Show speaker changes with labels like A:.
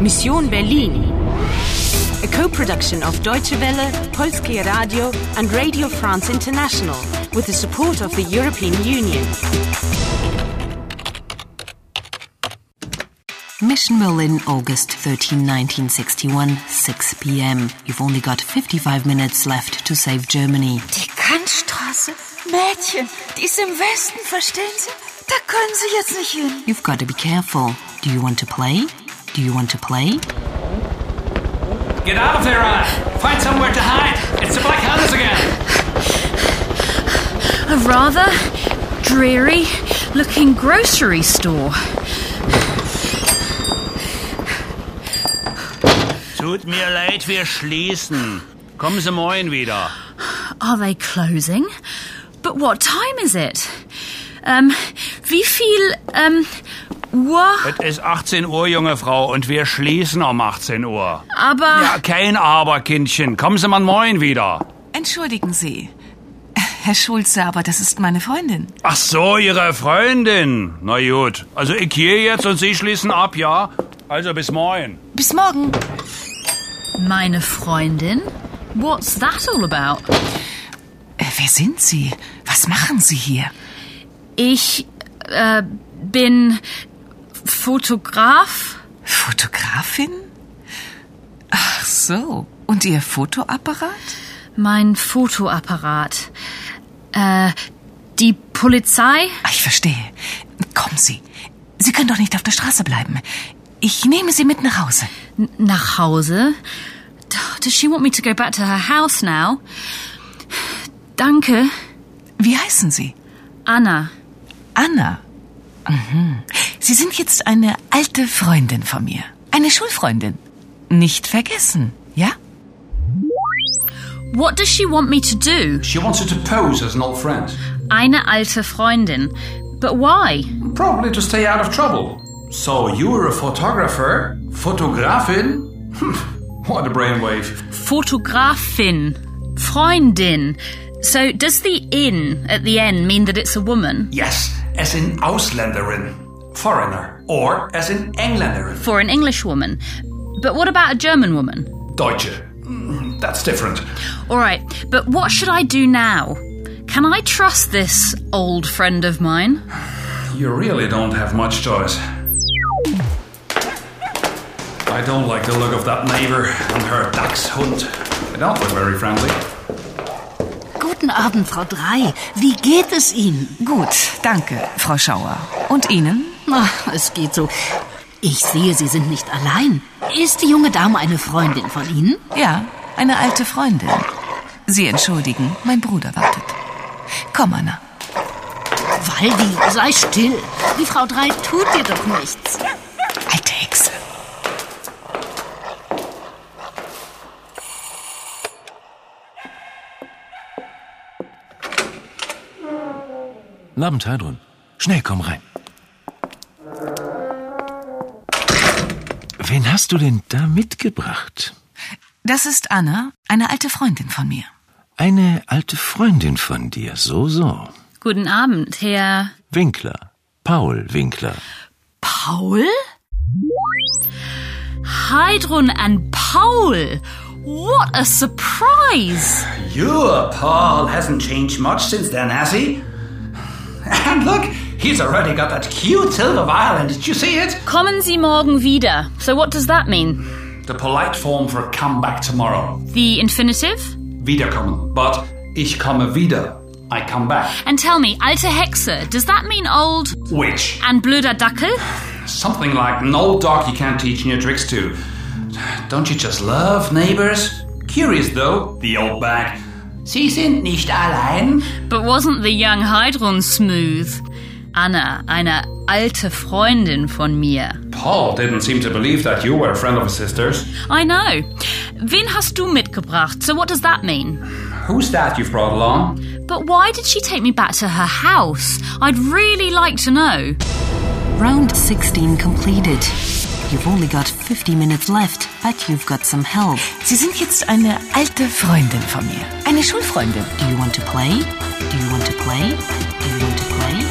A: Mission Berlin. A co-production of Deutsche Welle, Polskie Radio and Radio France International with the support of the European Union.
B: Mission Berlin, August 13, 1961, 6 p.m. You've only got 55 minutes left to save Germany.
C: Die Kantstraße? Mädchen, die ist im Westen, verstehen Sie? Da können Sie jetzt nicht hin.
B: You've got to be careful. Do you want to play? Do you want to play?
D: Get out of there, Anna. Find somewhere to hide. It's the Black Hunters again.
E: A rather dreary looking grocery store.
F: Tut mir leid, wir schließen. Kommen Sie morgen wieder.
E: Are they closing? But what time is it? Um, wie viel, um, Uhr?
F: Es ist 18 Uhr, junge Frau, und wir schließen um 18 Uhr.
E: Aber
F: Ja, kein Aber, Kindchen. Kommen Sie mal morgen wieder.
C: Entschuldigen Sie. Herr Schulze, aber das ist meine Freundin.
F: Ach so, Ihre Freundin. Na gut. Also ich gehe jetzt und Sie schließen ab, ja? Also bis morgen.
C: Bis morgen.
E: meine Freundin? What's that all about?
C: Äh, wer sind Sie? Was machen Sie hier?
E: Ich äh, bin Fotograf.
C: Fotografin? Ach so. Und Ihr Fotoapparat?
E: Mein Fotoapparat. Äh, die Polizei?
C: Ah, Ich verstehe. Kommen Sie. Sie können doch nicht auf der Straße bleiben. Ich nehme Sie mit nach Hause.
E: N nach Hause? Does she want me to go back to her house now? Danke,
C: Wie heißen Sie?
E: Anna.
C: Anna. Mhm. Sie sind jetzt eine alte Freundin von mir. Eine Schulfreundin. Nicht vergessen, ja?
E: What does she want me to do?
D: She wants you to pose as an old friend.
E: Eine alte Freundin. But why?
D: Probably to stay out of trouble. So you're a photographer? Fotografin? Hmm, what a brainwave.
E: Fotografin. Freundin. So does the in at the end mean that it's a woman?
D: Yes, as in Ausländerin. Foreigner. Or as in Engländerin.
E: For an English woman. But what about a German woman?
D: Deutsche. Hmm, That's different.
E: All right, but what should I do now? Can I trust this old friend of mine?
D: You really don't have much choice. I don't like the look of that neighbor and her dachshund. They don't look very friendly.
G: Guten Abend, Frau Drei. Wie geht es Ihnen?
C: Gut, danke, Frau Schauer. Und Ihnen?
G: Ach, es geht so. Ich sehe, Sie sind nicht allein. Ist die junge Dame eine Freundin von Ihnen?
C: Ja, eine alte Freundin. Sie entschuldigen, mein Bruder wartet. Komm, Anna.
G: Waldi, sei still. Die Frau Drei tut dir doch nichts.
C: Alte Hexe.
H: Guten Abend, Heidrun. Schnell, komm rein. Wen hast du denn da mitgebracht?
C: Das ist Anna, eine alte Freundin von mir.
H: Eine alte Freundin von dir, so, so.
E: Guten Abend, Herr
H: Winkler. Paul Winkler.
E: Paul? Heidrun and Paul! What a surprise!
D: Your Paul hasn't changed much since then, has he? And look, he's already got that cute silver violin. Did you see it?
E: Kommen Sie morgen wieder. So, what does that mean?
D: The polite form for come back tomorrow.
E: The infinitive?
D: Wiederkommen. But ich komme wieder. I come back.
E: And tell me, alte Hexe, does that mean old
D: Which?
E: and blöder Dackel?
D: Something like an old dog you can't teach new tricks to. Don't you just love neighbors? Curious though, the old bag. Sie sind nicht allein.
E: But wasn't the young Heidrun smooth? Anna, eine alte Freundin von mir.
D: Paul didn't seem to believe that you were a friend of his sister's.
E: I know. Wen hast du mitgebracht? So what does that mean?
D: Who's that you've brought along?
E: But why did she take me back to her house? I'd really like to know.
B: Round 16 completed. You've only got 50 minutes left, but you've got some help.
C: Sie sind jetzt eine alte Freundin von mir. Eine Schulfreundin.
B: Do you want to play? Do you want to play? Do you want to play?